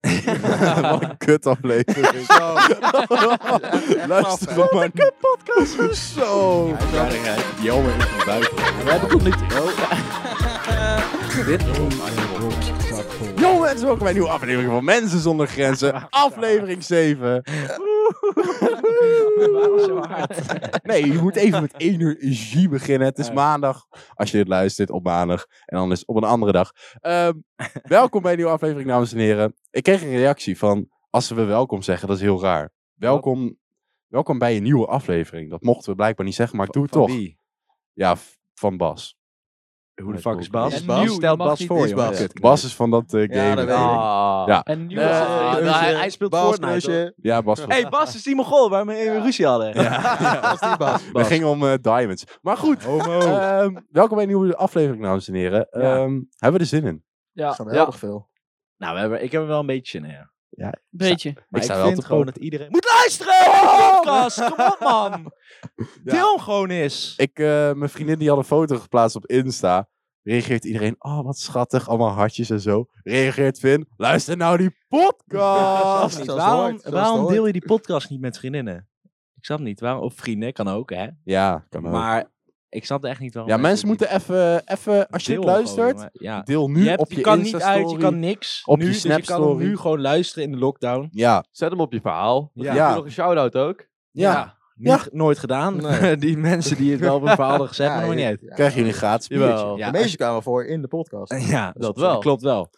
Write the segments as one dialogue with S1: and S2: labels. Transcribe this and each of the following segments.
S1: Wat een kut aflevering.
S2: Zo.
S1: Luister dan maar niet.
S2: Zo.
S1: Jammer in de buik.
S3: We hebben tot nu
S1: Oh.
S3: toe. Dit
S1: Jongens, welkom bij een nieuwe aflevering van Mensen Zonder Grenzen. Aflevering 7.
S3: zo hard.
S1: Nee, je moet even met energie beginnen. Het is maandag, als je dit luistert, op maandag. En anders op een andere dag. Ehm, welkom bij een nieuwe aflevering, dames en heren. Ik kreeg een reactie van, als we welkom zeggen, dat is heel raar. Welkom, welkom bij een nieuwe aflevering. Dat mochten we blijkbaar niet zeggen, maar ik doe het toch. Ja, v- van Bas.
S2: Hoe
S1: de
S2: de
S1: fuck
S2: fuck
S1: is
S2: is
S1: Bas?
S2: Bas?
S3: En nieuw, je mag niet-
S2: voor,
S3: is
S2: jongen.
S3: Bas.
S2: Kut.
S1: Bas is van dat eh,
S2: Ja,
S1: game.
S2: dat weet ik.
S3: Ah.
S1: Ja.
S3: En nu
S2: Eh,
S3: was
S2: eh,
S3: het-
S2: eh,
S3: hij, hij speelt
S2: Bas,
S3: Fortnite. hoor.
S2: neusje.
S1: Ja, Bas.
S3: Hey,
S2: hey, Bas is die Mongool waar we even ruzie hadden.
S1: Ja.
S2: Bas, die Bas.
S1: We gingen om eh, diamonds. Maar goed, ehm, welkom bij een nieuwe aflevering, dames en heren. Ehm, hebben we er zin in?
S3: Ja,
S2: Geweldig veel.
S4: Nou, we hebben, ik heb er wel een beetje zin in. ja.
S3: beetje.
S4: Maar ik,
S1: sta wel
S4: vind
S1: te
S4: gewoon
S1: koop.
S4: dat iedereen moet luisteren. Oh! Podcast, kom op man. Deel hem gewoon eens.
S1: Ik, eh, mijn vriendin die had een foto geplaatst op Insta. Reageert iedereen, oh wat schattig, allemaal hartjes en zo. Reageert Vin, luister nou die podcast.
S2: Zoals het
S4: waarom
S2: hoort, zoals
S4: waarom
S2: het
S4: deel
S2: hoort.
S4: je die podcast niet met vriendinnen? Ik snap niet. Waarom, of vrienden, kan ook hè.
S1: ja, kan ook.
S4: Maar ik snap echt niet waarom.
S1: Ja, mensen
S4: het niet
S1: moeten even, even als je
S4: deel
S1: het
S4: gewoon,
S1: luistert,
S4: jongen. ja.
S1: deel
S4: Je,
S1: nu
S4: hebt-
S1: op
S4: je
S1: je
S4: kan niet
S1: Insta
S4: uit, je kan niks.
S1: Op
S4: nu,
S1: je
S4: dus je kan hem
S1: Snap-story.
S4: nu gewoon luisteren in de lockdown.
S1: Ja,
S5: Zet hem op je verhaal.
S1: Ja.
S5: Ja. Doe nog een shout-out ook.
S1: ja.
S4: Niet, Nooit gedaan.
S2: Nee.
S4: die mensen die het wel op een verhaal hadden gezet, maar nog niet uit.
S1: Krijgen jullie een gratis biertje.
S4: Jawel.
S2: De
S4: Ja,
S2: meeste kwamen voor in de podcast.
S4: Ja,
S5: dat wel.
S4: klopt wel.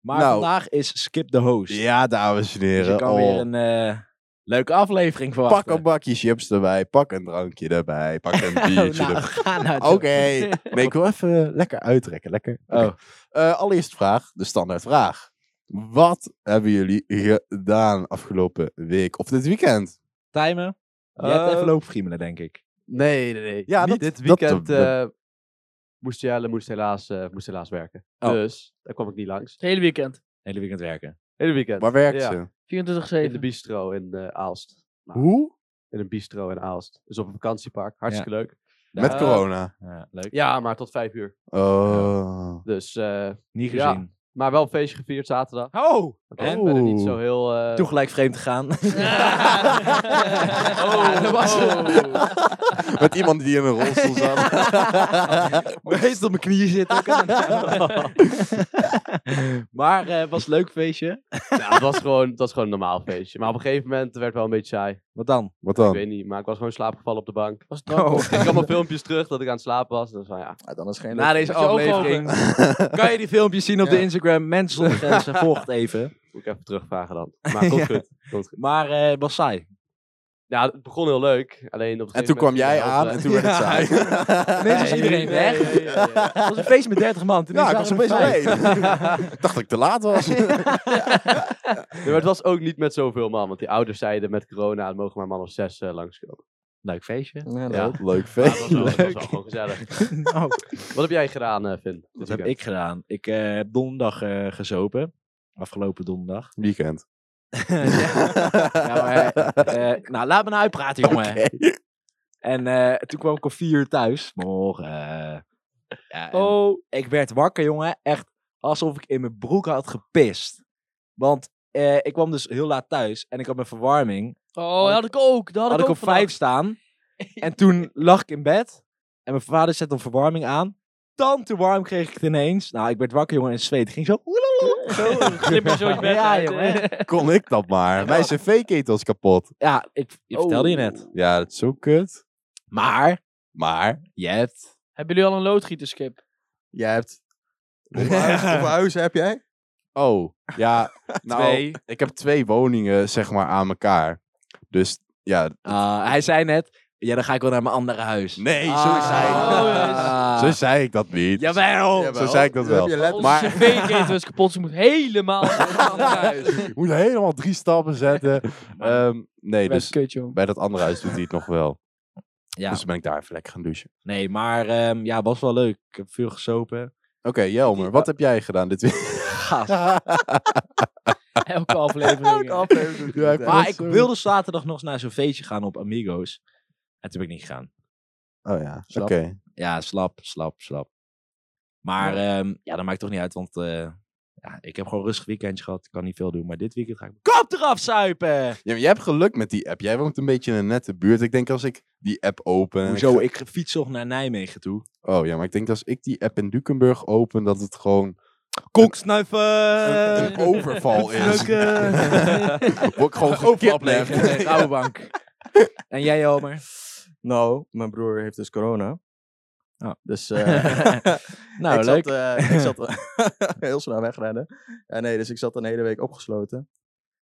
S4: Maar
S1: Nou.
S4: vandaag is Skip the Host.
S1: Ja, dames en
S4: dus je
S1: heren.
S4: kan
S1: oh.
S4: weer een eh, leuke aflevering verwachten.
S1: Pak een bakje chips erbij, pak een drankje erbij, pak een biertje
S4: nou,
S1: erbij.
S4: ga nou
S1: Oké. Nee, ik wil even lekker uitrekken. Lekker. Oké.
S4: Oh.
S1: Eh, allereerst vraag, de standaardvraag. Wat hebben jullie gedaan afgelopen week of dit weekend?
S4: Timen. Je hebt
S5: Eh,
S4: even lopen friemelen, denk ik.
S5: Nee, nee, nee.
S1: Ja,
S5: Niet
S1: dat-
S5: dit
S1: dat-
S5: weekend
S1: dat-
S5: eh, moest Jelle moest helaas, eh, moest helaas werken.
S4: Oh.
S5: Dus daar kwam ik niet langs.
S3: Het hele weekend.
S4: Hele weekend werken.
S5: In het weekend.
S1: Waar werkt
S5: Ja,
S1: ze?
S5: In de
S3: 24-7.
S5: bistro in eh, Aalst. Nou,
S1: Hoe?
S5: In een bistro in Aalst. Dus op een vakantiepark. Hartstikke leuk.
S1: Met
S5: Eh,
S1: corona.
S4: Ja, leuk.
S5: Ja, maar tot vijf uur.
S1: Oh.
S5: Dus, eh,
S4: Niet
S5: ja.
S4: gezien.
S5: maar wel een feestje gevierd zaterdag.
S4: Oh!
S5: En
S1: Oh.
S5: verder niet zo heel... eh,
S4: Toen gelijk vreemd gegaan.
S3: Oh,
S4: dat was
S1: Met iemand die in een rolstoel zat.
S4: Meest op mijn knieën zitten. maar eh, was een leuk feestje.
S5: ja, het, was gewoon, het was gewoon een normaal feestje. Maar op een gegeven moment werd het wel een beetje saai.
S4: Wat dan?
S1: Wat
S5: Ik
S1: dan?
S5: weet niet, maar ik was gewoon slaapgevallen op de bank.
S2: Was het
S4: Oh,
S2: drank op?
S5: Ik kwam mijn filmpjes terug dat ik aan het slapen was. Dus van, ja.
S2: Ja, dan is geen
S4: Na
S2: leuk.
S4: deze
S5: Met je ogen
S4: aflevering kan je die filmpjes zien op
S2: Ja.
S4: de Instagram. Mensen zonder grenzen, volg het even.
S5: Moet ik even terugvragen dan. Maar komt
S4: Ja.
S5: goed. Komt goed.
S4: Maar eh het was saai.
S5: Ja, het begon heel leuk. Alleen op een
S1: En
S5: gegeven
S1: toen kwam
S5: moment-
S1: jij
S5: Ja,
S1: aan en toen werd het saai.
S4: Ineens was iedereen weg. Het was een feest met 30 man. Toen
S1: Ja, ik was opeens alleen. Ik dacht dat ik te laat was.
S5: Ja, maar het was ook niet met zoveel man. Want die ouders zeiden met corona het mogen maar man of zes langs langskomen.
S4: Leuk feestje.
S2: Ja,
S5: Ja.
S2: leuk.
S1: Leuk
S5: Maar
S1: feest.
S5: het was wel- het was
S4: Leuk.
S5: wel gewoon gezellig.
S4: Nou,
S5: Wat heb jij gedaan, eh Finn?
S4: wat heb ik gedaan? Ik eh, heb donderdag eh, gezopen. Afgelopen donderdag.
S1: Weekend.
S4: Ja, maar, eh, nou, laat me nou uitpraten, jongen.
S1: Oké.
S4: En eh, toen kwam ik om vier uur thuis. Morgen. eh, ja, en-
S5: Oh,
S4: Ik werd wakker, jongen. Echt alsof ik in mijn broek had gepist. Want eh, ik kwam dus heel laat thuis en ik had mijn verwarming.
S3: Oh, dat had ik ook. Dat had,
S4: Had
S3: ik
S4: ik
S3: ook
S4: op vijf staan. En toen lag ik in bed. En mijn vader zette een verwarming aan. Dan te warm kreeg ik het ineens. Nou, ik werd wakker, jongen, en het zweet. ging zo.
S3: vandaag. Zo, glip je zo je bed
S4: Ja,
S3: uit,
S4: jongen.
S3: hè.
S1: Kon ik dat maar. Mijn cv-ketel is kapot.
S4: Ja, ik, ik vertelde je net.
S1: Ja, dat is zo kut.
S4: Oh. Maar,
S1: Maar,
S4: je hebt.
S3: Hebben jullie al een loodgieterskip?
S2: Jij hebt... Hoeveel huis- hoeveel huizen heb jij?
S1: oh, ja, nou,
S4: Twee.
S1: ik heb twee woningen, zeg maar, aan elkaar. Dus, ja,
S4: Ah, hij zei net. Ja, dan ga ik wel naar mijn andere huis.
S1: nee,
S4: Ah.
S1: Oh, zo, zei ik, dat-
S4: Ah.
S1: zo zei ik dat niet.
S4: Jawel.
S1: Zo zei ik dat
S2: heb
S1: wel.
S2: je
S3: Onze
S2: letterlijk-
S1: Maar-
S3: cv-ketel is kapot. Ze moet helemaal
S1: Je moet helemaal drie stappen zetten. Ehm, nee,
S3: Dus,
S1: dus bij dat andere huis doet hij het nog wel.
S4: Ja.
S1: Dus ben ik daar even lekker gaan douchen.
S4: Nee, maar ehm, ja, was wel leuk. Ik heb veel gesopen.
S1: Oké, Jelmer, wat heb jij gedaan dit weekend?
S4: Gast.
S3: Elke aflevering.
S2: Elke aflevering
S1: Ja,
S2: doet
S1: eh,
S2: het, hè.
S1: maar-
S4: Maar ik
S1: zo.
S4: wilde zaterdag nog naar zo'n feestje gaan op Amigos. En toen ben ik niet gegaan.
S1: Oh ja, oké.
S2: Slap.
S4: ehm, Ja, slap, slap, slap. Maar ja, ja dat maakt toch niet uit, want eh, Ja, ik heb gewoon rustig weekendje gehad. Ik kan niet veel doen. Maar dit weekend ga ik Eh, mijn kop eraf zuipen.
S1: Ja, maar jij hebt geluk met die app. Jij woont een beetje in een nette buurt. Ik denk als ik die app open... en ik
S4: Hoezo? Ik fiets toch naar Nijmegen toe.
S1: Oh ja, maar ik denk dat als ik die app in Dukenburg open, dat het gewoon
S4: Koksnuiven!
S1: een, een overval is. Word ik gewoon gekidnapt.
S4: de oude bank. En jij, Omer?
S2: Nou, mijn broer heeft dus corona.
S4: Oh.
S2: Dus eh,
S4: Nou,
S2: ik
S4: leuk.
S2: Zat, eh, ik zat heel snel wegrennen. Eh, nee, dus ik zat een hele week opgesloten.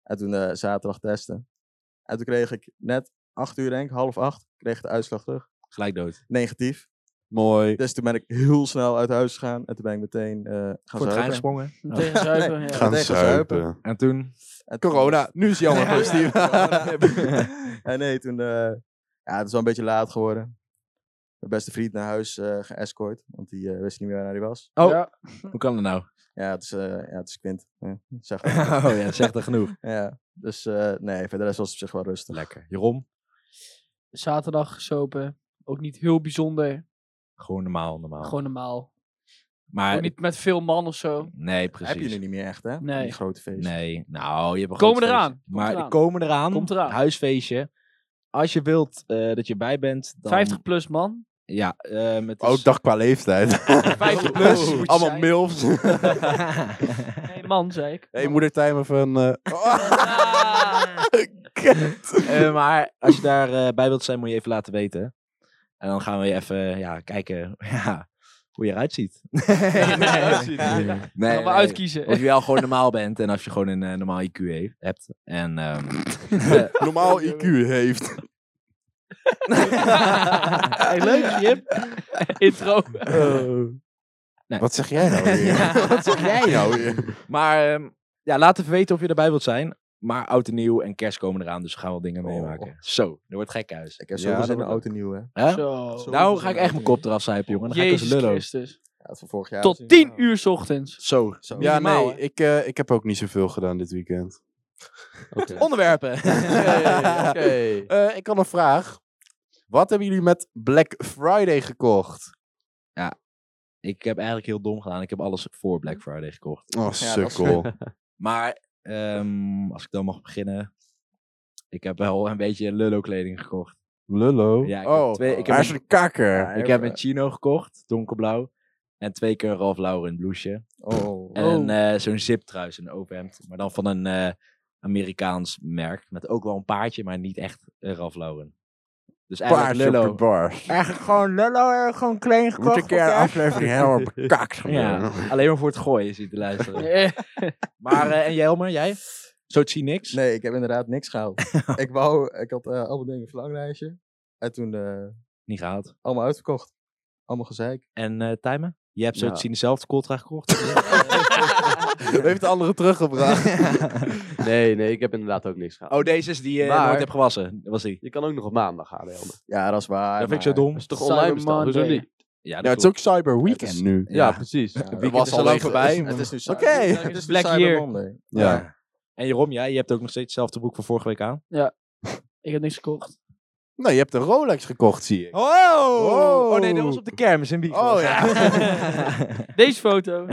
S2: En toen eh, zaterdag testen. En toen kreeg ik net acht uur denk ik, half acht, kreeg ik de uitslag terug.
S4: Gelijk dood.
S2: Negatief.
S1: Mooi.
S2: Dus toen ben ik heel snel uit huis gegaan. En toen ben ik meteen eh, gaan
S4: Voor het trein
S2: zuipen.
S4: gesprongen.
S3: Tegen zuipen, ja.
S1: Gaan
S2: tegen
S1: zuipen.
S2: zuipen.
S4: En toen?
S2: En toen- dus
S1: Corona, nu is het jammer
S5: dus
S1: positief.
S2: en nee, toen... eh, ja, het is wel een beetje laat geworden. Mijn beste vriend naar huis eh geëscort. Want die eh, wist niet meer waar hij was.
S4: Oh,
S3: Ja.
S4: hoe kan dat nou?
S2: Ja, het is, eh, ja, het is Quint. Ja, zeg maar.
S4: Oh ja, zegt er genoeg.
S2: Ja, dus eh, nee, verder was het op zich wel rustig.
S4: Lekker. Jeroen?
S3: Zaterdag gesopen. Ook niet heel bijzonder.
S4: Gewoon normaal, normaal.
S3: Gewoon normaal.
S4: maar,
S3: Ook niet met veel man of zo.
S4: nee, precies.
S2: Heb je nu niet meer echt, hè?
S3: Nee.
S2: Die grote feest.
S4: Nee, nou, je hebt een
S3: Komen
S4: groot
S3: eraan.
S4: feestje.
S3: Komt
S4: maar
S3: eraan.
S4: komen eraan.
S3: Komt eraan.
S4: Huisfeestje. Als je wilt eh, dat je bij bent, dan...
S3: 50 plus man.
S4: Ja, eh met
S2: Oh,
S1: Ook dag qua leeftijd. Oh.
S3: 50 plus. moet je
S1: Allemaal
S3: zijn.
S1: milfs. Hé,
S3: Nee, man, zei ik.
S1: hey, moeder Tijm even... eh,
S3: Ah,
S4: Eh, maar als je daar eh, bij wilt zijn, moet je even laten weten. En dan gaan we je even eh, ja, kijken ja, hoe je eruit ziet. nee,
S5: nee.
S4: nee,
S3: gaan we
S4: Of
S3: uitkiezen.
S4: je wel gewoon normaal bent en of je gewoon een eh, normaal IQ heeft, hebt. En, ehm,
S1: normaal IQ heeft.
S3: hey, leuk, Jip. Intro.
S1: Wat zeg jij nou weer? Wat zeg jij nou weer?
S4: maar ehm, ja, laat even weten of je erbij wilt zijn. Maar oud en nieuw en kerst komen eraan, dus we gaan wel dingen
S2: Oh.
S4: meemaken. Zo, er wordt gek huis.
S2: Ik heb
S1: Ja,
S2: zoveel
S1: dat
S2: zin in
S1: wordt
S2: oud en nieuw, hè? Ja,
S4: Hè?
S3: Zo.
S2: Zo.
S4: Nou ga ik echt mijn kop eraf zuipen, jongen. Dan ga ik eens
S3: Jezus
S4: lullen.
S3: Christus.
S2: dat van vorig jaar.
S3: Tot
S2: was
S3: 10
S2: niet normaal.
S3: uur 's ochtends.
S4: Zo.
S2: Zo.
S1: Ja,
S4: Minimaal,
S1: nee,
S4: hè?
S1: ik, eh, ik heb ook niet zoveel gedaan dit weekend.
S4: Onderwerpen.
S5: Oké, oké.
S1: Eh, ik had een vraag. Wat hebben jullie met Black Friday gekocht?
S4: ik heb eigenlijk heel dom gedaan. Ik heb alles voor
S2: Mm.
S4: Black Friday gekocht.
S1: Oh,
S2: Ja, dat is-
S1: sukkel.
S4: Maar ehm, als ik dan mag beginnen. Ik heb wel een beetje lullo kleding gekocht.
S1: Lullo.
S4: Ja, ik heb
S1: oh,
S4: twee- ik heb
S1: hij is
S4: een-
S1: een kakker.
S4: ik heb een chino gekocht, donkerblauw. En twee keer een Ralph Lauren blouseje.
S2: Oh.
S4: En een, eh, zo'n ziptruis, een overhemd. Maar dan van een eh, Amerikaans merk. Met ook wel een paardje, maar niet echt een Ralph Lauren. Dus eigenlijk
S1: paardje op
S4: lullo.
S1: de bar.
S4: Eigenlijk gewoon lullo, eh, gewoon kleding
S1: Moet een keer een aflevering helemaal bekakt
S4: Ja,
S1: worden.
S4: alleen maar voor het gooien zit te luisteren.
S3: Eh,
S4: Maar, eh, en jij Elmer, jij? Zo zie niks?
S2: Nee, ik heb inderdaad niks gehaald. ik wou, ik had eh, allemaal dingen in een verlanglijstje. En toen eh,
S4: Niet gehaald.
S2: allemaal uitverkocht. Allemaal gezeik.
S4: En eh Tijmen? Je hebt zo
S5: Ja.
S4: te zien dezelfde coltra gekocht.
S1: Heeft de andere teruggebracht.
S5: Nee, nee, ik heb inderdaad ook niks gehad.
S4: oh, deze is die je
S5: Maar-
S4: nooit hebt gewassen. Dat was die.
S5: Je kan ook nog op maandag gaan, Helmer.
S2: Ja, dat is waar.
S4: dat vind ik zo
S2: maar-
S4: dom.
S5: Dat is toch
S3: Cyber
S5: online besteld, hoezo
S3: Monday.
S5: niet?
S4: Ja, dat
S1: Ja, het is
S4: klopt.
S1: ook Cyber Weekend
S2: is-
S1: nu.
S5: Ja,
S4: Ja.
S5: precies.
S2: Ja,
S5: Het
S2: dat
S5: weekend
S1: was
S5: is
S1: al
S5: al lang
S1: even-
S5: voorbij.
S2: Het is nu Cyber-
S1: Oké.
S2: Het is nu
S3: Black
S2: Cyber
S3: year.
S2: Monday.
S1: Ja.
S4: En Jeroen, jij je hebt ook nog steeds hetzelfde broek van vorige week aan.
S3: ik heb niks gekocht.
S1: Nou, je hebt een Rolex gekocht, zie ik.
S4: Oh! Oh,
S1: Oh.
S4: nee, dat was op de kermis in Biegel.
S1: Oh, ja.
S3: Deze foto.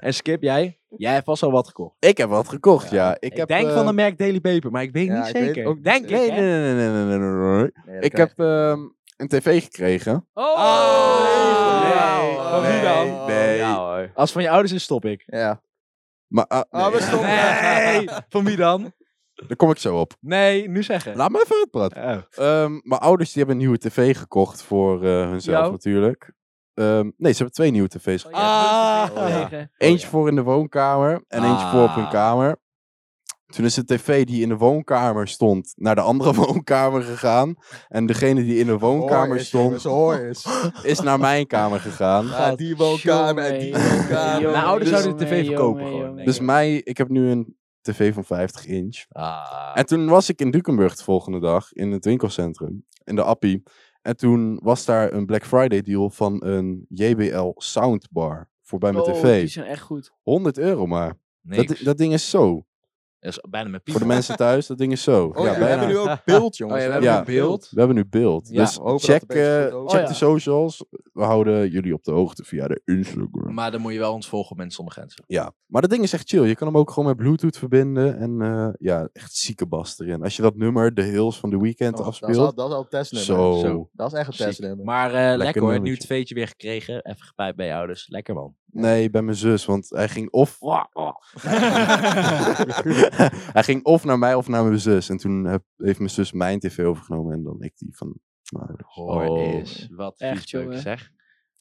S4: en Skip, jij? Jij hebt vast al wat gekocht.
S1: Ik heb wat gekocht, ja. Ik,
S4: Ik,
S1: heb,
S4: denk
S1: eh,
S4: van het merk Daily Paper, maar ik weet
S2: Ja,
S4: niet
S2: ik weet
S4: zeker.
S2: het ook
S4: denk
S1: Nee,
S4: ik,
S1: nee,
S4: hè?
S1: nee, nee, nee, nee, nee, nee.
S2: Nee, dat
S1: Ik
S2: krijg
S1: heb ehm, een tv gekregen.
S3: Oh!
S4: Oh,
S3: nee.
S4: nee.
S3: Van wie
S1: Nee,
S3: dan?
S1: nee.
S5: Oh, Ja hoor.
S4: Als het van je ouders is, stop ik.
S2: Ja.
S1: Maar ah,
S2: Ah, we
S1: nee,
S2: stoppen.
S4: Van wie dan?
S1: daar kom ik zo op.
S4: Nee, nu zeggen.
S1: Laat me even uitpraten.
S4: Oh.
S1: Ehm, mijn ouders die hebben een nieuwe tv gekocht voor eh hunzelf
S3: Jou?
S1: natuurlijk. Ehm, nee, ze hebben twee nieuwe tv's.
S3: Oh, ja,
S4: Ah.
S3: dat is tegen.
S1: Eentje voor in de woonkamer en eentje voor op hun
S4: Ah.
S1: kamer. Toen is de tv die in de woonkamer stond naar de andere woonkamer gegaan. En degene die in de woonkamer stond
S2: Hoor is.
S1: is naar mijn kamer gegaan.
S2: Ja, die woonkamer en die woonkamer.
S4: Mijn ouders
S1: dus-
S4: zouden de tv verkopen gewoon. denk
S1: Dus
S4: ik.
S1: mij, ik heb nu een tv van 50 inch.
S4: Ah.
S1: En toen was ik in Dukenburg de volgende dag in het winkelcentrum, in de Appie. En toen was daar een Black Friday deal van een JBL soundbar voor bij mijn
S3: Oh, Die
S1: tv.
S3: zijn echt goed.
S1: 100 euro maar.
S4: Niks.
S1: Dat, dat ding is zo.
S4: Dat is bijna mijn
S1: Voor
S4: piemel.
S1: de mensen thuis, dat ding is zo.
S2: Oh ja, we
S1: bijna.
S2: hebben nu ook beeld, jongens.
S4: Oh ja, we
S1: hebben
S4: nu beeld.
S1: We hebben nu beeld.
S4: Ja,
S1: dus
S2: we hopen
S1: check,
S2: dat het een beetje
S1: eh,
S2: goed
S1: check
S2: ook-
S3: Oh ja.
S1: de socials. We houden jullie op de hoogte via de Instagram.
S4: Maar dan moet je wel ons volgen, mensen zonder grenzen.
S1: Ja, maar dat ding is echt chill. Je kan hem ook gewoon met Bluetooth verbinden. En eh, ja, echt zieke bas erin. Als je dat nummer, The Hills van The Weeknd,
S2: Oh, dat, is al,
S1: afspeelt.
S2: dat is al een testnummer.
S1: Zo.
S4: Zo.
S2: Dat is echt een
S4: Ziek.
S2: testnummer.
S4: Maar eh, lekker, hoor, nu
S1: nummertje.
S4: het veetje weer gekregen. Even gepijpt bij je ouders. Lekker man.
S1: Nee, bij mijn zus. Want hij ging of... hij ging of naar mij of naar mijn zus. En toen heb- heeft mijn zus mijn tv overgenomen. En dan ik die van mijn ouders.
S4: Hoor
S5: Oh.
S4: is wat
S3: Echt,
S4: vies
S3: jongen.
S4: zeg.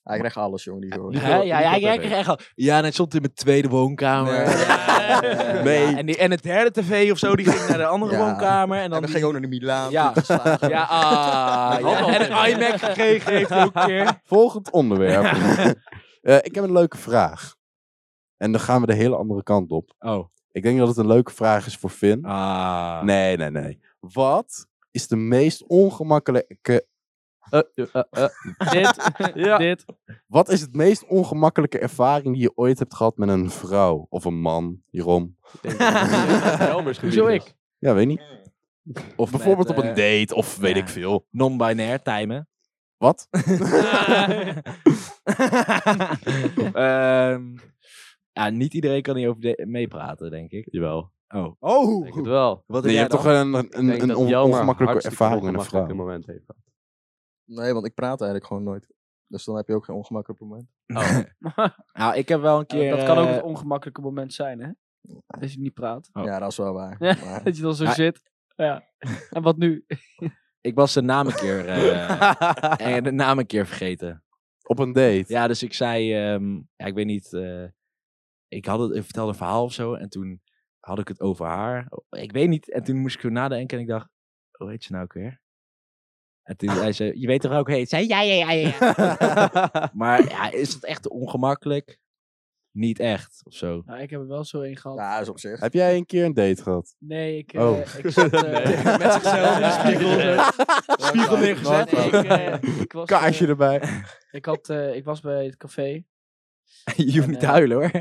S2: Hij krijgt alles, jongen. Die hoor.
S4: Hè? Ja, ja, ja,
S5: per
S4: ik kreeg echt al. Ja, en het stond in mijn tweede woonkamer.
S2: Nee.
S4: Ja.
S2: Nee.
S6: Ja, en, die, en het derde tv of zo, die ging naar de andere
S2: Ja.
S6: woonkamer. En
S2: En
S6: dan
S2: dan
S6: die-
S2: ging ook naar de Milaan.
S6: Ja.
S2: toen geslagen.
S6: Ja, ah,
S4: Ik had al
S6: ja. En een
S4: tv.
S6: iMac gekregen heeft hij ook een keer.
S1: Volgend onderwerp. Eh, ik heb een leuke vraag. En dan gaan we de hele andere kant op.
S4: Oh.
S1: Ik denk dat het een leuke vraag is voor Finn.
S4: Ah.
S1: Nee, nee, nee. Wat is de meest ongemakkelijke...
S5: Eh, eh, eh, eh.
S3: dit,
S5: Ja.
S3: dit.
S1: Wat is het meest ongemakkelijke ervaring die je ooit hebt gehad met een vrouw? Of een man, Jeroen?
S5: Ik denk dat het Helmers gebied
S3: Hoezo
S5: is.
S3: ik?
S1: Ja, weet niet. Of
S4: Of
S1: bijvoorbeeld
S4: met,
S1: op een date, of weet
S4: ja.
S1: ik veel.
S4: Non-binair timen.
S1: Wat?
S4: Ehm, ja, niet iedereen kan hierover de- meepraten, denk ik.
S5: Jawel.
S4: Oh.
S5: Ik
S6: Oh,
S5: denk het wel.
S4: Wat
S1: Nee, je hebt toch een,
S5: Ik
S1: een,
S5: denk
S1: een
S5: dat
S1: on-
S5: Jelmer
S1: ongemakkelijke
S5: hartstikke
S1: ervaring met een
S5: ongemakkelijke
S1: vrouw.
S5: moment heeft.
S2: Nee, want ik praat eigenlijk gewoon nooit. Dus dan heb je ook geen ongemakkelijk moment.
S4: Nou, ik heb wel een keer...
S3: Ja, dat kan ook
S4: eh,
S3: het ongemakkelijke moment zijn, hè? Dat je niet praat.
S4: Oh.
S2: Ja, dat is wel waar.
S3: Ja.
S2: Maar
S3: Dat je dan zo
S4: Ah.
S3: zit. Ja. En wat nu?
S4: Ik was de naam een keer, eh, en de naam een keer vergeten.
S1: Op een date?
S4: Ja, dus ik zei, ehm, ja, ik weet niet, eh, ik, had het, ik vertelde een verhaal of zo en toen had ik het over haar. Ik weet niet, en toen moest ik er nadenken en ik dacht, hoe heet ze nou ook weer? En toen zei ze, je weet toch ook hoe heet? Zei, ja, ja, ja, ja. ja." maar ja, is dat echt ongemakkelijk? Niet echt, of zo.
S3: Nou, ik heb er wel zo één gehad.
S2: ja, dat is op zich.
S1: Heb jij een keer een date gehad?
S3: Nee, ik,
S1: Oh.
S3: eh, ik zat... eh,
S4: Met zichzelf in de spiegel.
S2: Spiegel
S4: neergezet.
S3: Nee, ik, eh, ik was, eh,
S1: Kaarsje erbij.
S3: ik, had, eh, ik was bij het café.
S4: Je hoeft niet te huilen hoor.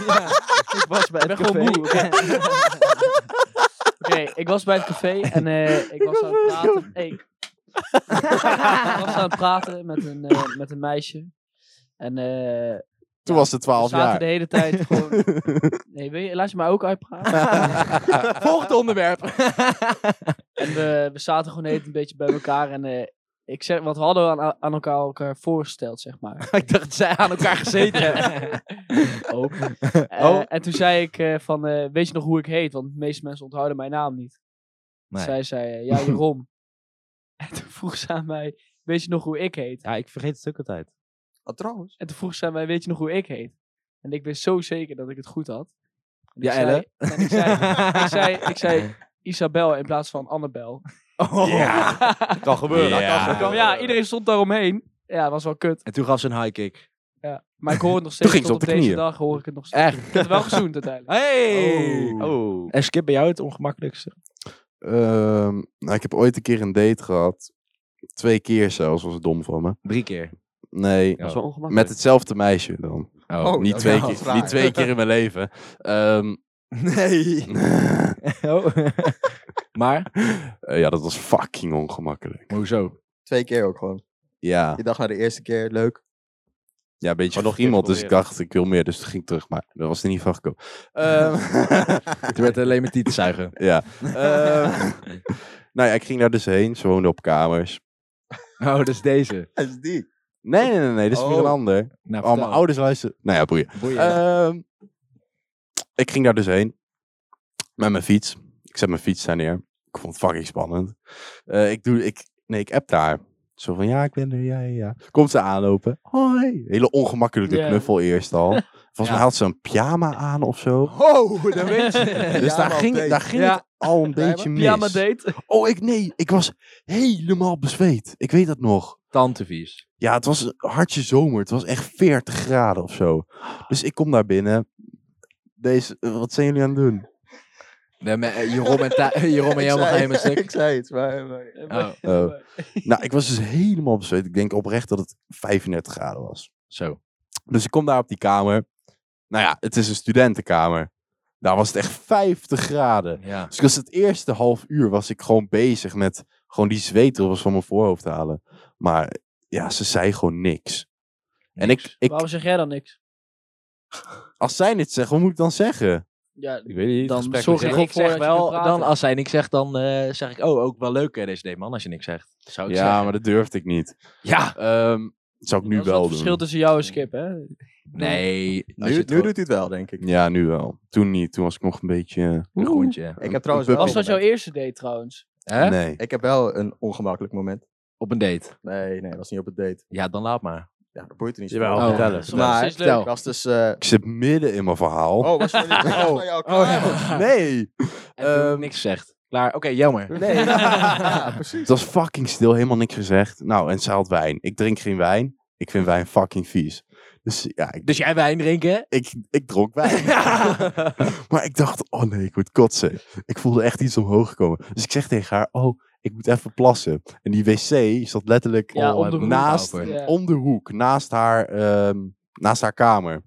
S4: ik was bij het
S3: ben gewoon
S4: café.
S3: moe, Oké, ik was bij het café en eh, ik, was aan het praten. Hey, ik ik was aan het praten met een, eh, met een meisje. En eh
S1: Toen
S3: ja,
S1: was ze 12
S3: we zaten
S1: jaar.
S3: de hele tijd gewoon... Nee, wil je, laat je mij ook uitpraten.
S4: Volgend onderwerp.
S3: En we, we zaten gewoon net een beetje bij elkaar. En eh, ik zeg, wat we hadden aan, aan elkaar, elkaar voorgesteld, zeg maar.
S4: ik dacht, zij aan elkaar gezeten
S3: Oh.
S4: Oh.
S3: en toen zei ik eh, van, eh, weet je nog hoe ik heet? Want de meeste mensen onthouden mijn naam niet.
S4: Nee.
S3: Zij zei, eh, ja, Jeroen. en toen vroeg ze aan mij, weet je nog hoe ik heet?
S4: Ja, ik vergeet het ook altijd.
S2: Ah, trouwens.
S3: En toen vroeg ze aan mij, weet je nog hoe ik heet? En ik wist zo zeker dat ik het goed had. En
S4: Ja,
S3: ik zei-
S4: Elle?
S3: en ik zei, ik zei, ik zei Isabel in plaats van Annabel.
S4: Oh.
S5: Kan gebeuren.
S4: Ja.
S5: dat kan- dat kan
S3: Maar ja,
S5: gebeuren.
S3: iedereen stond daaromheen. Ja, dat was wel kut.
S4: En toen gaf ze een high kick.
S3: Maar ik hoor het nog steeds.
S1: ging ze
S3: tot
S1: op de
S3: deze
S1: knieën.
S3: dag hoor ik het nog steeds.
S4: Echt.
S3: Ik heb het wel gezoend uiteindelijk.
S4: Hey!
S1: Oh.
S5: Oh.
S4: En Skip, bij jou het ongemakkelijkste?
S1: Ehm, nou, ik heb ooit een keer een date gehad. Twee keer zelfs, was het dom van me.
S4: Drie keer.
S1: Nee,
S5: Dat is wel ongemakkelijk.
S1: met hetzelfde meisje dan.
S4: Oh.
S2: Oh.
S1: niet,
S2: dat
S1: twee
S2: is wel
S1: keer,
S2: raar.
S1: niet twee keer in mijn leven. Ehm,
S4: Nee. Oh. maar?
S1: eh, ja, dat was fucking ongemakkelijk.
S4: Hoezo?
S2: Twee keer ook gewoon.
S1: Ja,
S2: Je dacht naar de eerste keer, leuk.
S1: ja een beetje
S5: Maar nog
S1: nog iemand,
S5: een keer
S1: dus ik dacht, ik wil meer. Dus toen ging ik terug, maar dat was er niet van gekomen. Ehm,
S4: Het werd alleen maar tieten zuigen.
S1: ja. Ehm, nou ja, ik ging daar dus heen. Ze woonde op kamers.
S4: Oh, dat is deze.
S2: Dat is die.
S1: Nee, nee, nee, nee, dit is weer een
S2: Oh.
S1: ander.
S4: Nou,
S1: Oh, mijn ouders luisteren. Nou ja, boeien.
S4: Eh,
S1: Ehm, ik ging daar dus heen. Met mijn fiets. Ik zet mijn fiets daar neer. Ik vond het fucking spannend. Eh, ik doe, ik, nee, ik app daar. Zo van, ja, ik ben er, ja, ja, ja. Komt ze aanlopen. Hoi. Hele ongemakkelijke
S3: Ja.
S1: knuffel eerst al. Volgens mij had ze een pyjama aan of zo.
S4: Oh, dan weet je.
S1: Dus daar
S2: op
S1: ging,
S2: date.
S1: daar ging
S3: Ja.
S1: het al een
S2: Pyjama?
S1: beetje mis.
S3: Pyjama date.
S1: Oh, ik, nee, ik was helemaal bezweet. Ik weet dat nog.
S4: Tantevies.
S1: Ja, het was een hartje zomer. Het was echt 40 graden of zo. Dus ik kom daar binnen. Deze, eh, wat zijn jullie aan het doen?
S4: Nee, maar, eh, Jeroen en, ta- Jeroen en
S2: Ik
S4: jou mag
S2: zei-
S4: helemaal stuk.
S2: Ik zei iets, maar... maar-
S4: Oh,
S1: Oh. nou, ik was dus helemaal bezweet. Ik denk oprecht dat het 35 graden was.
S4: zo.
S1: Dus ik kom daar op die kamer. Nou ja, het is een studentenkamer. Daar was het echt 50 graden.
S4: Ja.
S1: Dus ik was het eerste half uur was ik gewoon bezig met gewoon die zweetdruppels van mijn voorhoofd te halen. Maar ja, ze zei gewoon niks. En ik, ik
S3: Waarom zeg jij dan niks?
S1: als zij dit zeggen, wat moet ik dan zeggen?
S3: Ja,
S5: Ik weet niet.
S3: Dan
S5: gesprek
S3: zorg
S5: met
S3: ik
S5: Rob.
S3: voor dat je kunt praten.
S4: als zij niks zegt, dan eh, zeg ik, oh, ook wel leuk hè, deze man als je niks zegt. Zou ik
S1: Ja,
S4: zeggen.
S1: maar dat durfde ik niet.
S4: Ja.
S1: Ehm, dat zou ik nu
S3: dat is
S1: wel
S3: het
S1: doen.
S3: verschil tussen jou en Skip, hè?
S4: Nee,
S2: Nu, nu doet hij het wel, denk ik.
S1: Ja, nu wel. Toen niet. Toen was ik nog een beetje... eh,
S4: een rondje.
S2: Ik heb trouwens
S1: Een
S2: wel...
S1: puppy.
S3: Was dat jouw eerste date trouwens?
S4: Hè?
S1: Nee.
S2: Ik heb wel een ongemakkelijk moment.
S4: Op een date.
S2: Nee, nee, dat was niet op het date.
S4: Ja, dan laat maar.
S2: Ja, dat boeit er niet
S5: Jawel,
S2: zoveel.
S1: Nou,
S4: Oh.
S5: vertel eens.
S3: Soms
S2: Maar-
S3: is het leuk.
S2: Ik was dus... eh,
S1: Ik zit midden in mijn verhaal.
S2: oh, was jullie, was jullie al klaar?
S3: Oh.
S1: Nee.
S4: En toen
S1: Ehm,
S4: niks gezegd. Klaar. Oké, jammer.
S2: Nee. ja,
S1: Het
S2: precies.
S1: was fucking stil, helemaal niks gezegd. Nou, en ze had wijn. Ik drink geen wijn. Ik vind wijn fucking vies. Dus ja, ik,
S4: Dus jij wijn drinken?
S1: ik, ik dronk wijn. maar ik dacht, oh nee, ik word kotsen. Ik voelde echt iets omhoog komen. Dus ik zeg tegen haar, oh, ik moet even plassen. En die wc zat letterlijk
S3: Ja,
S1: al
S3: om de hoek.
S1: naast,
S3: Ja.
S1: om de hoek, naast haar, ehm, naast haar kamer.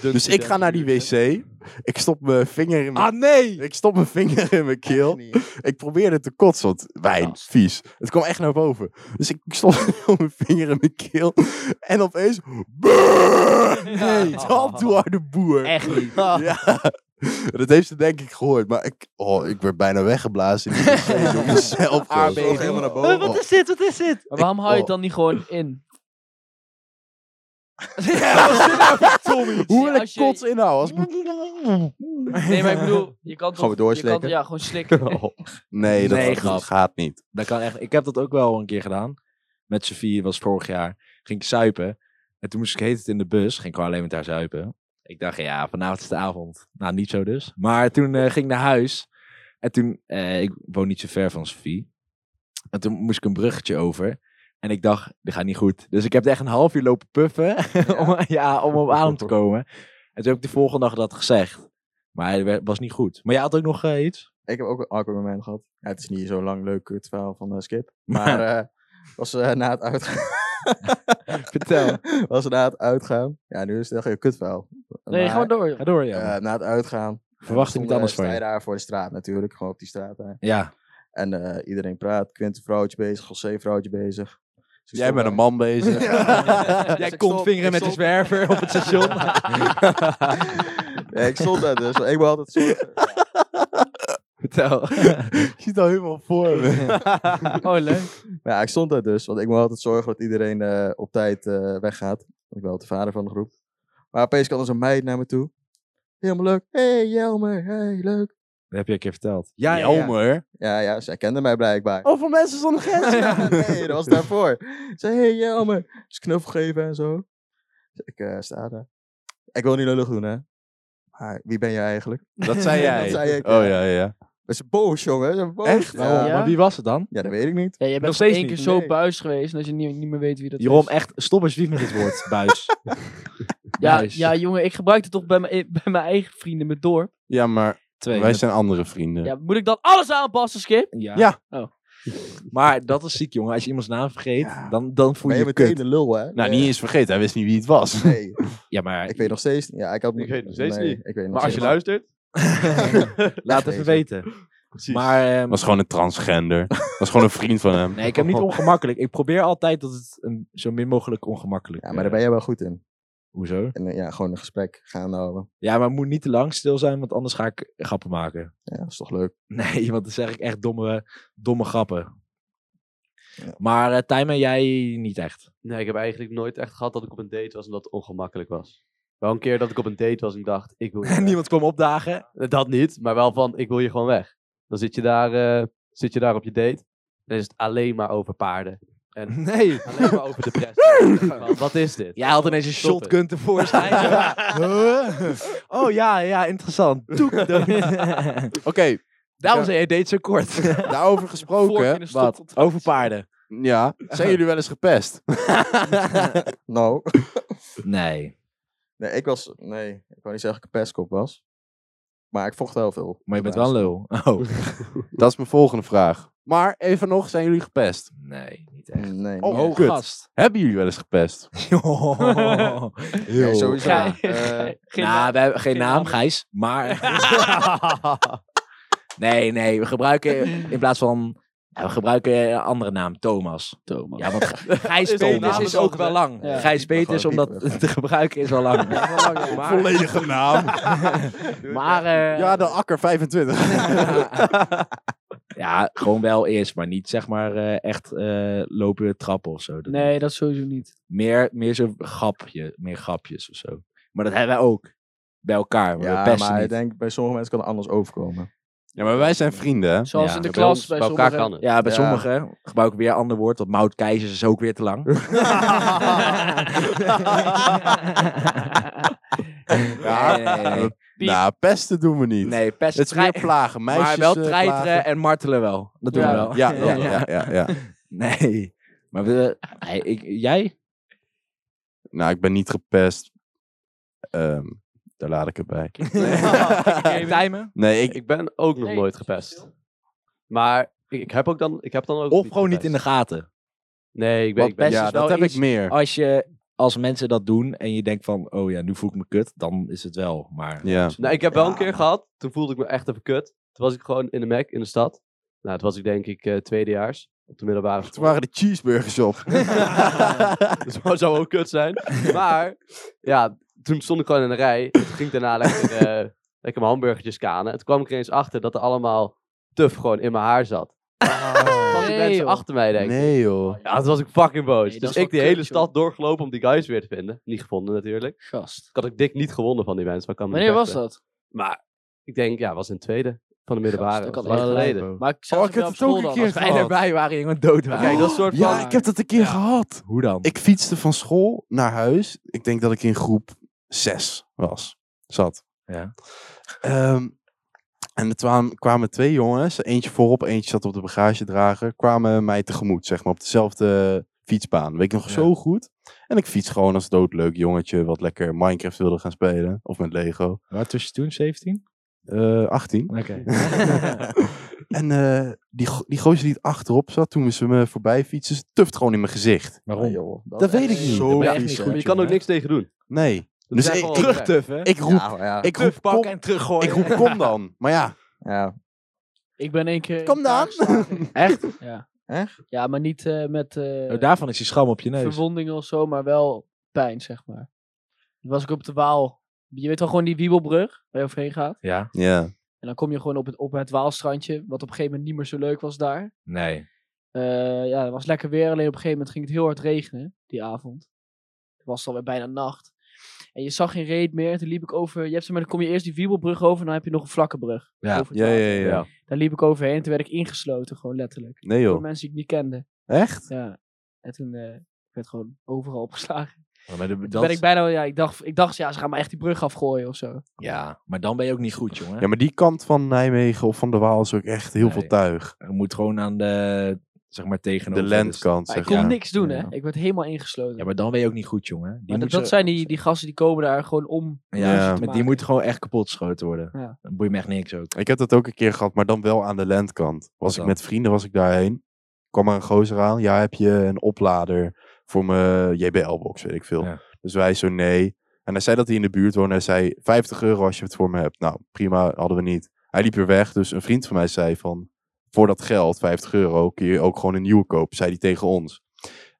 S1: Dus ik ga naar die wc. Ik stop mijn vinger in mijn...
S4: Ah, nee!
S1: Ik stop mijn vinger in mijn keel. Ik probeerde te kotsen, want wijn,
S3: Gast.
S1: vies. Het kwam echt naar boven. Dus ik stond op mijn vinger in mijn keel. En opeens... brrr,
S3: Nee.
S1: Dat doe haar de boer.
S4: Echt niet.
S1: Ja. Dat heeft ze denk ik gehoord. Maar ik, oh, ik werd bijna weggeblazen in die wc door mezelf.
S2: Zo
S1: joh.
S2: helemaal
S3: Oh,
S2: naar boven.
S1: wat
S4: is dit? Wat is dit?
S3: Maar waarom hou je het
S1: oh.
S3: dan niet gewoon in?
S1: Hoe wil
S3: nou Als
S1: ik
S3: je-
S1: kots inhouden? Als...
S3: Nee, maar ik bedoel, je kan toch...
S2: Gewoon
S3: je kan-
S2: doorslikken.
S3: Ja, gewoon
S1: Oh,
S3: slikken.
S1: Nee, dat,
S4: Nee,
S1: dat
S4: grap.
S1: gaat niet.
S4: Dat kan echt. Ik heb dat ook wel een keer gedaan. Met Sofie was vorig jaar. Ging ik zuipen. En toen moest ik heet het in de bus. Ging ik gewoon alleen met haar zuipen. Ik dacht, ja, vanavond is de avond. Nou, niet zo dus. Maar toen eh, ging ik naar huis. En toen, eh, ik woon niet zo ver van Sofie. En toen moest ik een bruggetje over. En ik dacht, dit gaat niet goed. Dus ik heb echt een half uur lopen puffen. om, ja, om op adem te komen. En toen heb ik de volgende dag dat gezegd. Maar het werd- was niet goed. Maar jij had ook nog eh, iets?
S2: Ik heb ook een awkward moment gehad. Ja, het is niet zo'n lang leuk het verhaal van eh, Skip. Maar eh was eh, na het uitgaan.
S4: eh, Vertel.
S2: was na het uitgaan. Ja, nu is het echt een kut verhaal. eh,
S3: Nee, gewoon door. joh.
S4: Ga door, ja.
S2: na het uitgaan.
S4: Verwacht ik
S2: ik
S4: niet anders van
S2: eh, Sta
S4: je.
S2: je daar voor de straat natuurlijk. Gewoon op die straat daar.
S4: Ja.
S2: En eh, iedereen praat. Quint een vrouwtje bezig. José een vrouwtje bezig. Dus ik
S1: Jij
S2: stond
S1: bent
S2: daar.
S1: een man bezig.
S2: Dus
S4: Jij
S2: ik
S4: komt
S2: stond-
S4: vingeren
S2: ik
S4: met de
S2: stond-
S4: zwerver op het station.
S2: Ja, ik stond daar dus. want Ik moet altijd zorgen.
S4: Vertel.
S1: Ik zie het al helemaal voor me.
S3: Oh, leuk.
S2: Ja, ik stond daar dus, want ik moet altijd zorgen dat iedereen eh, op tijd eh, weggaat. Want ik ben altijd de vader van de groep. Maar opeens kwam er zo'n meid naar me toe. Helemaal leuk. hey, Jelmer, hey, leuk.
S4: Dat heb je een keer verteld.
S2: Ja, ja, ja.
S1: Jelmer.
S2: Ja, ja, zij kende mij blijkbaar.
S1: Oh, voor mensen zonder grenzen.
S2: Ja, nee, dat was daarvoor. Ze hey, Jelmer. Dus knuffel geven en zo. Dus ik eh, sta daar. Ik wil niet lullig doen, hè. Maar wie ben jij eigenlijk?
S1: Dat zei jij.
S2: Dat zei ik,
S1: Oh
S2: ja.
S1: ja, ja.
S2: Dat is boos, jongen. Ze is boos.
S1: Echt?
S2: Ja.
S3: Ja.
S4: Oh, Maar wie was het dan?
S2: ja, dat weet ik niet.
S3: Ja, je bent
S4: steeds
S3: één keer
S4: niet.
S3: zo
S2: Nee.
S3: buis geweest dat je niet, niet meer weet wie dat
S4: Jeroen,
S3: is.
S4: echt, stop alsjeblieft met dit woord, buis.
S3: Ja,
S4: buis.
S3: ja, jongen, ik gebruik het toch bij mijn, bij mijn eigen vrienden in mijn dorp.
S1: Ja, maar
S4: Twee.
S1: wij zijn andere vrienden.
S3: Ja, moet ik dan alles aanpassen, Skip?
S4: Ja.
S1: Ja.
S3: Oh.
S4: Maar dat is ziek, jongen. Als je iemands naam vergeet,
S2: Ja.
S4: dan, dan voel
S2: Ben
S4: je
S2: je
S4: je
S2: meteen
S4: kut.
S2: de lul, hè?
S1: Nou, niet eens vergeten. Hij wist niet wie het was.
S2: Nee.
S4: Ja, maar
S2: Ik weet nog steeds niet. Ja, ik, had
S5: Ik weet nog steeds
S2: nee,
S5: niet.
S2: Ik weet nog
S5: Maar als je
S2: steeds
S5: luistert,
S4: laat even weten. Maar ehm,
S1: was gewoon een transgender. was gewoon een vriend van hem.
S4: nee, ik heb niet
S2: Oh.
S4: ongemakkelijk. Ik probeer altijd dat het een, zo min mogelijk
S2: niet.
S4: ongemakkelijk
S2: Ja, maar daar
S4: eh,
S2: ben jij wel goed in.
S4: Hoezo?
S2: En eh, ja, gewoon een gesprek gaan houden.
S4: Ja, maar het moet niet te lang stil zijn, want anders ga ik grappen maken.
S2: Ja, dat is toch leuk.
S4: Nee, want dan zeg ik echt domme, domme grappen.
S2: Ja.
S4: Maar eh Tijmen, jij niet echt.
S5: Nee, ik heb eigenlijk nooit echt gehad dat ik op een date was en dat het ongemakkelijk was. Wel een keer dat ik op een date was en ik dacht, ik wil hier
S4: En niemand kwam opdagen.
S5: weg. Eh, Dat niet, maar wel van, ik wil hier gewoon weg. Dan zit je daar, eh, zit je daar op je date dan is het alleen maar over paarden. En
S4: Nee.
S5: alleen maar over depressie. Van, Wat is dit?
S4: Jij haalt ineens een
S5: Stop het.
S4: shotgun tevoorschijn. Huh? oh ja, ja, interessant. Doek dood.
S1: Oké,
S4: Daarom zijn je date zo kort.
S1: daarover
S3: Vork in
S1: gesproken.
S3: de stop tot-
S4: Over paarden.
S1: Ja, zijn jullie wel eens gepest?
S2: Nou,
S4: Nee.
S2: nee, ik was... Nee, ik wou niet zeggen dat ik een pestkop was. Maar ik vocht heel veel.
S4: Maar je bent wel een lul. Oh.
S1: Dat is mijn volgende vraag. Maar even nog, zijn jullie gepest?
S4: Nee, niet echt.
S2: Nee.
S1: Oh,
S2: nee.
S1: kut.
S4: gast.
S1: Hebben jullie wel eens gepest?
S2: Nee, sowieso.
S3: Gij-
S2: Eh,
S3: Geen
S4: nou, we hebben geen,
S3: geen
S4: naam,
S3: naam.
S4: Gijs, maar... nee, nee, we gebruiken in plaats van... ja, we gebruiken een andere naam, Thomas.
S3: Thomas.
S4: Ja, want Gij- Gijs
S5: Is Thomas
S4: Peters is
S5: wel
S4: ook
S5: gezegd?
S4: wel lang.
S3: Ja.
S4: Gijs Peters, om
S2: gewoon
S4: dat te gebruiken, is wel lang. maar,
S1: Volledige naam.
S4: maar eh,
S1: ja, de Akker 25.
S4: ja, gewoon wel eerst, maar niet zeg maar eh, echt eh, lopen trappen of zo. Dat-
S3: Nee, dat sowieso niet.
S4: Meer, meer zo'n grapje, meer grapjes of zo. Maar dat hebben wij ook. Bij elkaar. maar we
S2: ja,
S4: pesten
S2: maar ik
S4: niet.
S2: denk bij sommige mensen kan het anders overkomen.
S1: ja, maar wij zijn vrienden, hè?
S3: Zoals
S4: Ja,
S3: in de
S5: bij
S3: klas
S5: ons,
S3: bij,
S5: bij elkaar
S3: sommigen.
S5: kan het.
S4: Ja, bij
S2: Ja.
S4: sommigen gebruik ik weer een ander woord, want Mout Keizers is ook weer te lang.
S1: Ja.
S4: Nee, nee, nee.
S3: Die-
S1: Nou, pesten doen we niet.
S4: Nee, pest.
S1: Het is meer
S4: trei-
S1: plagen. Meisjes
S4: maar wel
S1: eh,
S4: treiteren
S1: plagen.
S4: en martelen wel. Dat doen
S3: Ja.
S4: we wel.
S1: Ja, ja, oh, ja, ja, ja.
S4: Nee. Maar we, nee, ik, jij?
S1: Nou, ik ben niet gepest. Ehm, daar laat ik het bij.
S4: Tijmen?
S1: Nee, ik,
S5: Ik ben ook nog
S3: Nee,
S5: nooit gepest. Maar ik, ik heb ook dan, ik heb dan ook.
S4: Of gewoon niet in de gaten.
S5: Nee, ik ben.
S4: Want
S5: Ik ben
S4: pest
S5: ja.
S1: ja,
S4: is wel
S1: dat heb
S4: iets-
S1: ik meer.
S4: Als je als mensen dat doen en je denkt van, oh ja, nu voel ik me kut, dan is het wel. Maar
S1: Ja.
S5: Nou, ik heb wel een
S4: Ja,
S5: keer gehad. Toen voelde ik me echt even kut. Toen was ik gewoon in de Mac in de stad. Nou, toen was ik denk ik eh, tweedejaars op de middelbare
S1: Toen
S5: school.
S1: waren de cheeseburgers op.
S5: Dus dat zou ook kut zijn. Maar ja, toen stond ik gewoon in de rij. En Toen ging ik daarna lekker, eh, lekker mijn hamburgertjes kanen. En toen kwam ik er eens achter dat er allemaal tuf gewoon in mijn haar zat. Toen was
S3: Nee,
S5: die mensen
S3: joh.
S5: achter mij, denk ik.
S1: nee, joh.
S5: Ja, toen was ik fucking boos.
S3: Nee, dat
S5: dus
S3: is wel
S5: ik die
S3: kut,
S5: hele
S3: joh.
S5: stad doorgelopen om die guys weer te vinden. Niet gevonden natuurlijk. Dus
S3: Gast.
S5: Ik had ook dik niet gewonnen van die mensen. Maar ik kan me niet
S3: Wanneer was
S5: vechten.
S3: dat?
S5: Maar ik denk, ja, was in het tweede van de middelbare.
S3: Gast, ik
S5: Dat
S3: had
S5: was
S3: echt
S5: lang
S3: gelijk,
S5: geleden.
S3: Maar ik zag
S1: Oh,
S3: het
S1: ik heb
S3: wel op
S1: het ook
S3: school
S1: een
S3: dan.
S1: keer
S3: Als wij
S1: gehad.
S3: erbij-
S4: wij waren jongen dood. waren.
S5: Kijk, dat soort van...
S1: Ja, ik heb dat een keer gehad.
S4: Hoe dan?
S1: Ik fietste van school naar huis. Ik denk dat ik in groep 6 was. Zat.
S4: Ja.
S1: Ehm, en er twa- kwamen twee jongens, eentje voorop, eentje zat op de bagagedrager, kwamen mij tegemoet, zeg maar, op dezelfde fietsbaan. Weet ik nog
S4: Ja.
S1: zo goed. En ik fiets gewoon als doodleuk jongetje, wat lekker Minecraft wilde gaan spelen. Of met Lego.
S4: Waar tussen toen, 17?
S1: Eh 18.
S4: Oké.
S1: En eh, die, go- die gozer die het achterop zat, toen ze me voorbij fietsen, tuft gewoon in mijn gezicht.
S2: Ah,
S4: Waarom?
S2: joh,
S1: Dat weet ik
S2: is
S1: niet.
S2: Zo
S5: Ja, echt
S2: vies, hè.
S5: niet goed, je kan ook
S4: jongen.
S5: niks tegen doen.
S1: Nee. Dus
S5: is
S1: ik,
S5: echt wel
S1: ik,
S5: gek.
S4: Terugtuffen.
S1: ik roep,
S2: Ja, maar ja.
S1: ik roep, kom,
S4: Terugpakken en teruggooien.
S1: ik roep, kom dan. Maar ja,
S2: ja.
S3: Ik ben één keer...
S1: Kom dan.
S4: Echt?
S3: Ja.
S2: Echt?
S3: Ja, maar niet eh, met eh,
S4: Oh, daarvan is die schram op je neus.
S3: verwondingen of zo, maar wel pijn, zeg maar. Toen was ik op de Waal. Je weet wel gewoon die wiebelbrug waar je overheen gaat.
S4: Ja.
S1: Ja.
S3: En dan kom je gewoon op het, op het Waalstrandje, wat op een gegeven moment niet meer zo leuk was daar.
S4: Nee.
S3: Eh, ja, het was lekker weer, alleen op een gegeven moment ging het heel hard regenen die avond. Het was alweer bijna nacht. En je zag geen reet meer. Toen liep ik over. Je hebt, zeg maar, dan kom je eerst die wiebelbrug over en dan heb je nog een vlakke brug.
S4: Ja.
S3: over het
S1: Ja, ja,
S3: water.
S1: ja, ja.
S3: Daar liep ik overheen en toen werd ik ingesloten, gewoon letterlijk.
S1: Nee
S3: Door
S1: joh.
S3: mensen die ik niet kende.
S1: Echt?
S3: Ja. En toen eh, ik werd gewoon overal opgeslagen.
S4: Maar de-
S3: Toen
S4: dat-
S3: ben ik bijna, ja, ik dacht, ik dacht, ja, ze gaan me echt die brug afgooien of zo.
S4: Ja, maar dan ben je ook niet goed, jongen.
S1: Ja, maar die kant van Nijmegen of van de Waal is ook echt heel
S4: Nee.
S1: veel tuig.
S4: Je moet gewoon aan de, zeg maar,
S1: De
S4: tegenover. dus-
S1: landkant,
S3: Maar ik
S1: zeg
S3: kon
S1: maar.
S3: niks doen,
S2: Ja.
S3: hè. Ik werd helemaal ingesloten.
S4: Ja, maar dan ben je ook niet goed, jongen. Die
S3: maar dat,
S4: moet
S3: dat
S4: zo-
S3: zijn die, die gasten die komen daar gewoon om.
S4: Ja,
S1: Ja.
S4: maar die
S3: maken.
S4: moet gewoon echt kapot geschoten worden.
S3: Ja.
S4: Dan boeit me echt niks ook.
S1: Ik heb dat ook een keer gehad, maar dan wel aan de landkant. Was ik
S4: dan?
S1: met vrienden, was ik daarheen. Kwam er een gozer aan. Ja, heb je een oplader voor mijn JBL-box, weet ik veel.
S4: Ja.
S1: Dus wij zo, nee. En hij zei dat hij in de buurt woonde. Hij zei, 50 euro als je het voor me hebt. Nou, prima, hadden we niet. Hij liep weer weg, dus een vriend van mij zei van... Voor dat geld, 50 euro, kun je ook gewoon een nieuwe kopen, zei hij tegen ons.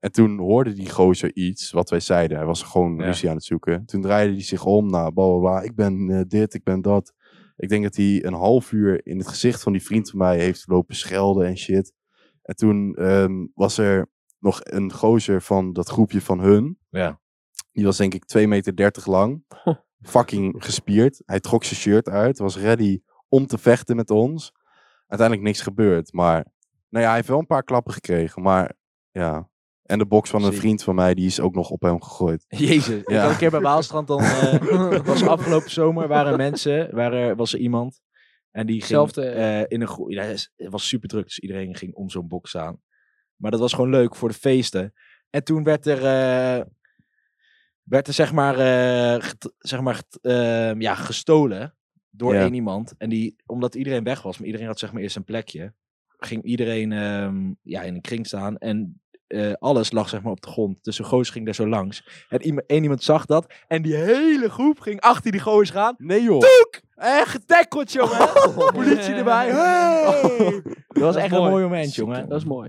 S1: En toen hoorde die gozer iets wat wij zeiden. Hij was gewoon
S4: Ja.
S1: ruzie aan het zoeken. Toen draaide hij zich om naar bla bla bla. Ik ben eh, dit, ik ben dat. Ik denk dat hij een half uur in het gezicht van die vriend van mij heeft lopen schelden en shit. En toen ehm, was er nog een gozer van dat groepje van hun.
S4: Ja.
S1: Die was denk ik 2,30 meter lang. Fucking gespierd. Hij trok zijn shirt uit. Was ready om te vechten met ons. Uiteindelijk niks gebeurd. Maar nou ja, hij heeft wel een paar klappen gekregen. Maar ja. En de box van een
S4: Ziek.
S1: vriend van mij, die is ook nog op hem gegooid.
S4: Jezus, ik
S1: Ja.
S4: had een keer bij Waalstrand dan... eh, was afgelopen zomer, waren mensen, waren, was er iemand. En die ging
S3: Zelfde-
S4: eh, in een groep... Ja, het was super druk, dus iedereen ging om zo'n box staan. Maar dat was gewoon leuk voor de feesten. En toen werd er... eh, werd er zeg maar, eh, get- zeg maar get- eh, ja, gestolen door
S1: Ja.
S4: één iemand. En die, omdat iedereen weg was, maar iedereen had zeg maar eerst een plekje. ging iedereen ehm, ja, in een kring staan. En eh, alles lag zeg maar op de grond. Dus een goos ging daar zo langs. En iemand, één iemand zag dat. En die hele groep ging achter die goos gaan.
S1: Nee joh.
S4: En Eh, getackled, jongen. Politie erbij. Oh. Hey! Oh. Dat was
S3: is
S4: echt een
S3: mooi.
S4: mooi moment, jongen.
S3: Dat is mooi.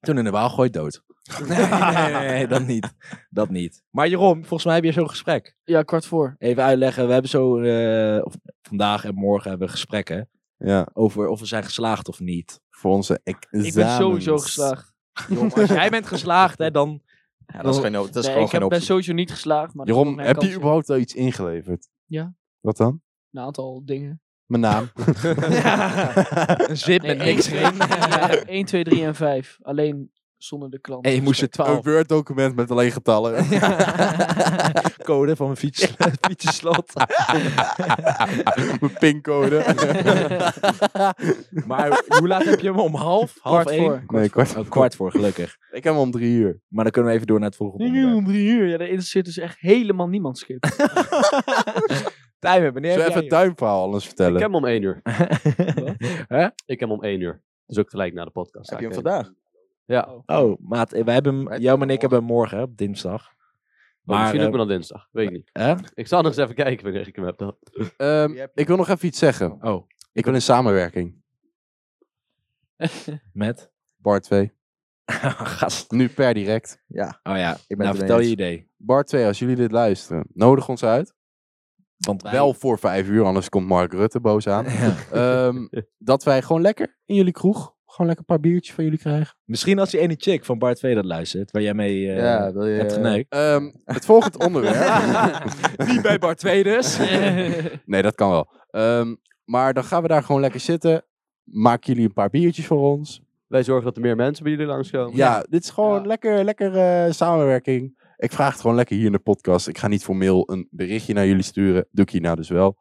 S4: Toen in de Waal gooit dood. nee, nee, nee, nee, dat niet. Dat niet. Maar Jeroen, volgens mij heb je zo'n gesprek.
S3: Ja, kwart voor.
S4: Even uitleggen, we hebben zo eh, of vandaag en morgen hebben we gesprekken
S1: Ja,
S4: over of we zijn geslaagd of niet.
S1: voor onze examens.
S3: Ik ben sowieso geslaagd.
S4: Jeroen, als jij bent geslaagd, hè, dan...
S2: Ja, dat is, geen, dat is
S3: Nee,
S2: gewoon
S3: ik heb,
S2: geen
S3: ben
S2: optie.
S3: sowieso niet geslaagd. Maar dat is
S1: Jeroen,
S3: nog
S1: heb
S3: mijn
S1: je
S3: kans,
S1: überhaupt al iets ingeleverd?
S3: Ja.
S1: Wat dan?
S3: ja. Een aantal dingen.
S1: Mijn naam.
S4: Oh. Een zip met
S3: één,
S4: niks
S3: twee,
S4: erin.
S3: ja, één, twee, drie en 5. Alleen zonder de klant. Dus
S4: En je moest er
S1: Een
S4: 12
S1: Word document met alleen getallen.
S4: code van mijn fiets, fietsenslot.
S1: Mijn pincode.
S4: Maar hoe laat heb je hem? Om half? Half
S3: Kwart
S4: één?
S3: voor.
S1: nee, kwart.
S4: Oh, kwart voor, gelukkig.
S1: Ik heb hem om drie uur.
S4: Maar dan kunnen we even door naar het volgende onderwerp.
S3: om drie uur. Ja, daar interesseert dus echt helemaal niemand, Skip.
S4: Tijmen, wanneer
S1: Zullen we even
S4: heb jij
S1: het duimverhaal alles vertellen?
S5: Ik heb hem om één uur.
S4: Hè?
S5: Ik heb hem om één uur. Dus ook gelijk na de podcast.
S2: Heb je hem
S5: eigenlijk.
S2: vandaag?
S4: Oh, maat, eh, wij hebben hem,
S2: Wij
S4: jou en ik hebben hem morgen, hè, op dinsdag.
S5: Maar,
S4: Maar,
S5: misschien ook
S4: eh,
S5: wel dan dinsdag. Weet ik niet.
S4: hè?
S5: Ik zal nog eens even kijken wanneer ik hem heb dan.
S1: Ehm,
S2: Die heb je.
S1: ik wil nog even iets zeggen.
S4: Oh.
S1: Ik wil in samenwerking.
S4: Met?
S1: Bar 2.
S4: Oh, Gast.
S1: Nu per direct.
S4: Oh ja, ik
S2: het
S4: nou,
S2: ermee
S4: vertel je
S2: eens.
S4: idee.
S1: Bar 2, als jullie dit luisteren, nodig ons uit.
S4: Want wij...
S1: Wel voor vijf uur, anders komt Mark Rutte boos aan. Ehm, dat wij gewoon lekker in jullie kroeg, gewoon lekker een paar biertjes van jullie krijgen.
S4: Misschien als die ene chick van Bart V dat luistert, waar jij mee eh,
S2: ja, wil je...
S4: hebt geneukt.
S1: Ehm, het volgende onderwerp.
S4: Niet bij Bart V dus.
S1: Nee, dat kan wel. Ehm, maar dan gaan we daar gewoon lekker zitten. Maak jullie een paar biertjes voor ons.
S5: Wij zorgen dat er meer mensen bij jullie langskomen.
S1: Ja, dit is gewoon
S3: Ja.
S1: lekker, lekker eh, samenwerking. Ik vraag het gewoon lekker hier in de podcast. Ik ga niet formeel een berichtje naar jullie sturen. Doe ik hier nou dus wel.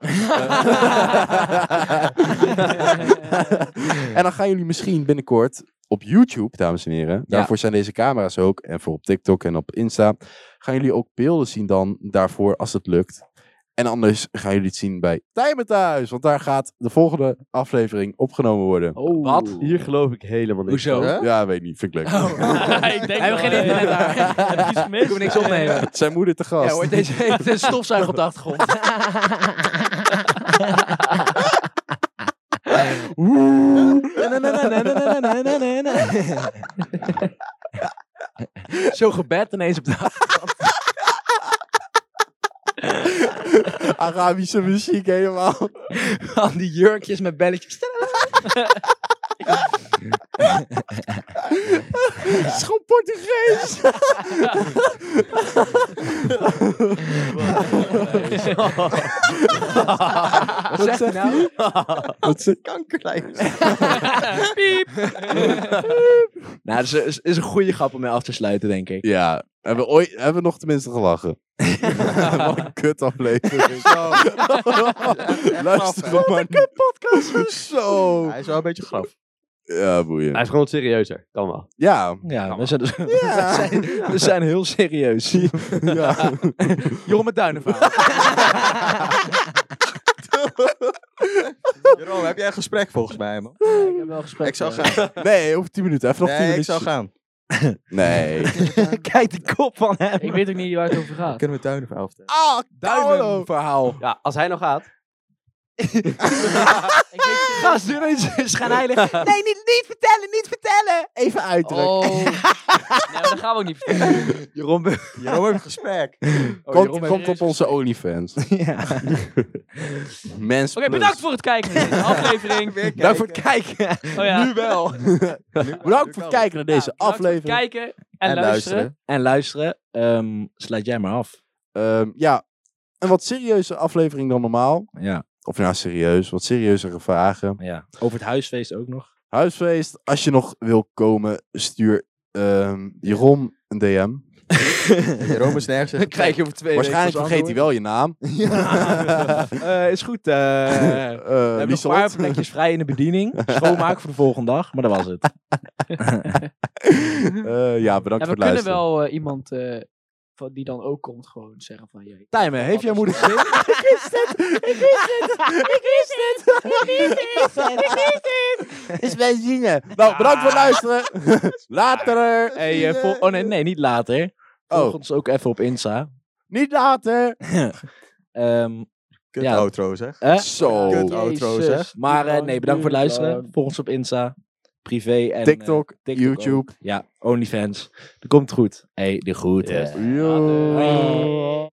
S1: en dan gaan jullie misschien binnenkort op YouTube, dames en heren. Daarvoor zijn deze camera's ook. En voor op TikTok en op Insta. Gaan jullie ook beelden zien dan daarvoor als het lukt. En anders gaan jullie het zien bij Tijmen Thuis. Want daar gaat de volgende aflevering opgenomen worden.
S3: Oh.
S5: Wat? Hier geloof ik helemaal niet.
S4: Hoezo?
S2: Hè?
S1: Ja, weet niet. Vind ik leuk.
S3: ik denk
S4: Hebben we geen internet daar?
S3: Heb je iets gemist?
S4: Kunnen we niks opnemen?
S1: Zijn moeder te gast.
S4: deze hele stofzuiger op de achtergrond. Zo gebed ineens op de
S1: Arabische muziek helemaal.
S4: aan die jurkjes met belletjes.
S1: Het is gewoon Portugees.
S4: Wat zegt hij nou?
S1: Wat ze-
S2: kankerlijst.
S4: Nou, dat is, is, is een goede grap om mee af te sluiten, denk ik.
S1: Ja, hebben we, ooit, hebben we nog tenminste gelachen. Wat een kut aflevering. Luister
S2: hè?
S1: gewoon maar. Wat een podcast. Zo.
S2: Hij is wel een beetje graf.
S1: Ja,
S5: Hij
S1: boeien.
S5: is gewoon wat serieuzer. Kan wel.
S1: Ja.
S4: Ja, we zijn, dus- we zijn, we zijn heel serieus.
S1: ja.
S4: Jeroen met Duinenvaart.
S2: Jeroen, heb jij een gesprek volgens mij, man?
S3: Ik heb wel gesprek.
S2: Ik zou
S3: eh,
S2: gaan.
S1: Nee, over 10 minuten. Even nog 10
S2: Nee, ik
S1: minuten.
S2: zou gaan.
S1: Nee.
S4: Kijk die kop van hem.
S3: Ik weet ook niet waar het over gaat.
S2: Kunnen we tuinen verhaal vertellen?
S1: Ah, Carlo.
S4: Duinenverhaal.
S5: Ja, als hij nog gaat.
S3: Ik weet-
S4: Gast, Oh, nu is gaan heilig. Nee, niet, niet vertellen, niet vertellen. Even uitdrukken.
S3: Oh. nee, maar dat gaan we ook niet vertellen.
S4: Jeroen, be-
S2: Jeroen heeft een gesprek.
S4: Oh,
S1: komt,
S4: Jeroen
S1: komt op onze OnlyFans.
S4: ja.
S1: Mens
S3: Oké,
S1: plus.
S3: bedankt voor het kijken naar deze aflevering.
S2: Weer
S4: Dank voor het
S2: kijken.
S4: kijken.
S3: Oh ja.
S4: Nu wel.
S1: Bedankt voor het kijken naar deze
S3: Ja, bedankt voor het
S1: aflevering.
S3: Kijken en, luisteren.
S4: En luisteren, ehm, sluit jij maar af.
S1: Ehm, ja, een wat serieuze aflevering dan normaal.
S4: Ja.
S1: Of nou serieus, wat serieuzere vragen.
S4: ja. Over het huisfeest ook nog.
S1: Huisfeest, als je nog wil komen, stuur ehm Jeroen een DM.
S2: Jeroen is nergens.
S4: Dan krijg je over twee
S1: Waarschijnlijk
S4: weken
S1: vergeet hij wel je naam.
S4: wel. is goed. eh we
S1: Eh
S4: hebben nog een
S1: Lieselot.
S4: paar plekjes vrij in de bediening. Schoonmaken voor de volgende dag. Maar dat was het.
S1: Eh, ja, bedankt
S3: En
S1: voor
S3: we
S1: het luisteren.
S3: kunnen wel eh, iemand eh, van- die dan ook komt gewoon zeggen van... jij.
S4: Tijmen, heeft jouw moeder zin?
S1: Is mijn zingen. Nou, bedankt voor het luisteren. Later.
S4: Hey, eh, vol- oh nee, nee, niet later. Volg
S1: Oh.
S4: ons ook even op Insta.
S1: Niet later.
S4: Ehm,
S2: Kut
S4: Ja.
S2: outro zeg.
S4: hè?
S1: Zo.
S2: Kut outro zeg.
S4: Maar eh, nee, bedankt voor het luisteren. Volg ons op Insta, privé en eh,
S1: TikTok, YouTube.
S4: ook. Ja, OnlyFans. Dat komt goed. Hey, de groeten.
S1: Yo.
S5: Later.